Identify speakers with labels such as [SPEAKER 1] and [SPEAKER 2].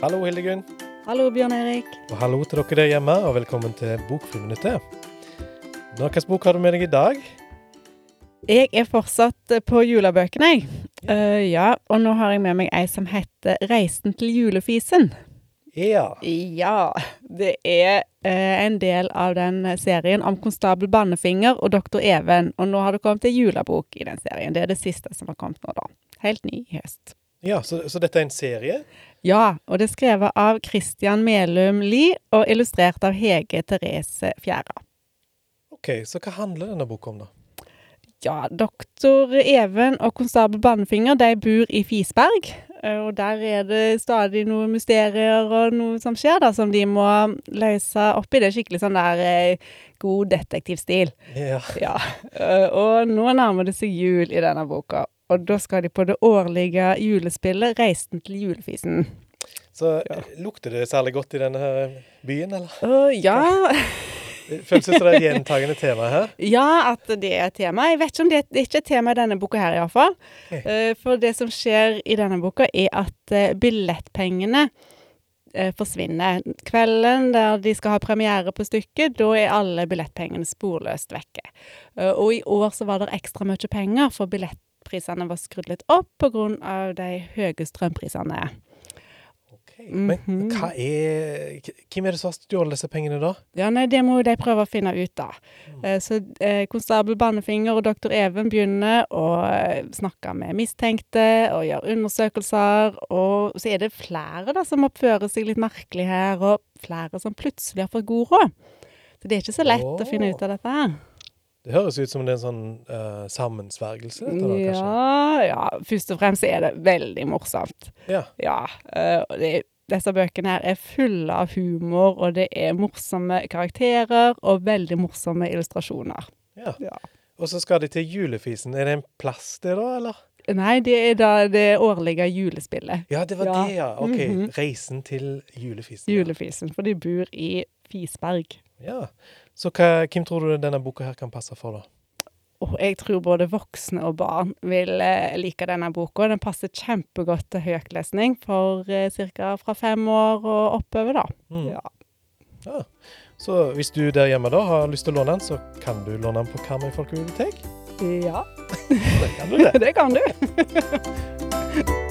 [SPEAKER 1] Hallo, Hildegunn.
[SPEAKER 2] Hallo, Bjørn Erik.
[SPEAKER 1] Og hallo til dere der hjemme, og velkommen til Bokfriminuttet. Nå, Hvilken bok har du med deg i dag?
[SPEAKER 2] Jeg er fortsatt eh, på julebøkene, jeg. Eh, ja, og nå har jeg med meg ei som heter 'Reisen til julefisen'.
[SPEAKER 1] Ja.
[SPEAKER 2] Ja, det er eh, en del av den serien om konstabel Bannefinger og doktor Even. Og nå har det kommet en julebok i den serien. Det er det siste som har kommet nå, da. Helt ny i høst.
[SPEAKER 1] ja så, så dette er en serie?
[SPEAKER 2] Ja, og det er skrevet av Christian Melum Lie og illustrert av Hege Therese Fjæra.
[SPEAKER 1] OK, så hva handler denne boka om, da?
[SPEAKER 2] Ja, doktor Even og konstabel Bannefinger de bor i Fisberg. eh, Og der er det stadig noen mysterier og noe som skjer, da, som de må løse opp i. Det er skikkelig sånn der eh, god detektivstil.
[SPEAKER 1] Ja.
[SPEAKER 2] Ja. eh, Og nå nærmer det seg jul i denne boka. Og da skal de på det årlige julespillet 'Reisen til julefisen'.
[SPEAKER 1] Så lukter det særlig godt i denne her eh, byen, eller?
[SPEAKER 2] Å, ja.
[SPEAKER 1] Det Føles som det er et gjentagende tema her.
[SPEAKER 2] Ja, at det er et tema. Jeg vet ikke om det, det er ikke et tema i denne boka her, iallfall.
[SPEAKER 1] Ok.
[SPEAKER 2] Eh, for det som skjer i denne boka, er at eh, billettpengene eh, forsvinner. Kvelden der de skal ha premiere på stykket, da er alle billettpengene sporløst vekke. Eh, og i år så var det ekstra mye penger, for billettprisene var skrudd litt opp pga. de høye strømprisene.
[SPEAKER 1] Ok, Men hva er k- Hvem er det som har stjålet disse pengene, da?
[SPEAKER 2] Ja, nei, Det må jo de prøve å finne ut, da.
[SPEAKER 1] Mm.
[SPEAKER 2] Eh, Så eh, konstabel Bannefinger og doktor Even begynner å eh, snakke med mistenkte og gjøre undersøkelser. Og så er det flere da som oppfører seg litt merkelig her, og flere som plutselig har fått god råd. Så det er ikke så lett å finne ut av dette her.
[SPEAKER 1] Det høres ut som det er en sånn eh, sammensvergelse, dette da, kanskje?
[SPEAKER 2] Ja, ja, først og fremst er det veldig morsomt.
[SPEAKER 1] Ja.
[SPEAKER 2] Ja, eh, og det, disse bøkene her er fulle av humor, og det er morsomme karakterer og veldig morsomme illustrasjoner.
[SPEAKER 1] ja.
[SPEAKER 2] Ja.
[SPEAKER 1] Og så skal de til julefisen. Er det en plass, det, da, eller?
[SPEAKER 2] Nei, det er da det årlige julespillet.
[SPEAKER 1] Ja, det var
[SPEAKER 2] Ja.
[SPEAKER 1] det, ja. OK.
[SPEAKER 2] Mhm.
[SPEAKER 1] Reisen til julefisen. ja.
[SPEAKER 2] Julefisen, for de bor i Fisberg.
[SPEAKER 1] Ja. Så hva, hvem tror du denne boka her kan passe for, da?
[SPEAKER 2] Og jeg tror både voksne og barn vil eh, like denne boka. Den passer kjempegodt til høytlesning for eh, ca. fra fem år og oppover, da.
[SPEAKER 1] Mm.
[SPEAKER 2] Ja.
[SPEAKER 1] Ja. Så hvis du der hjemme da har lyst til å låne den, så kan du låne den på Karmøy folkebibliotek.
[SPEAKER 2] ja,
[SPEAKER 1] Da kan du det.
[SPEAKER 2] det kan du.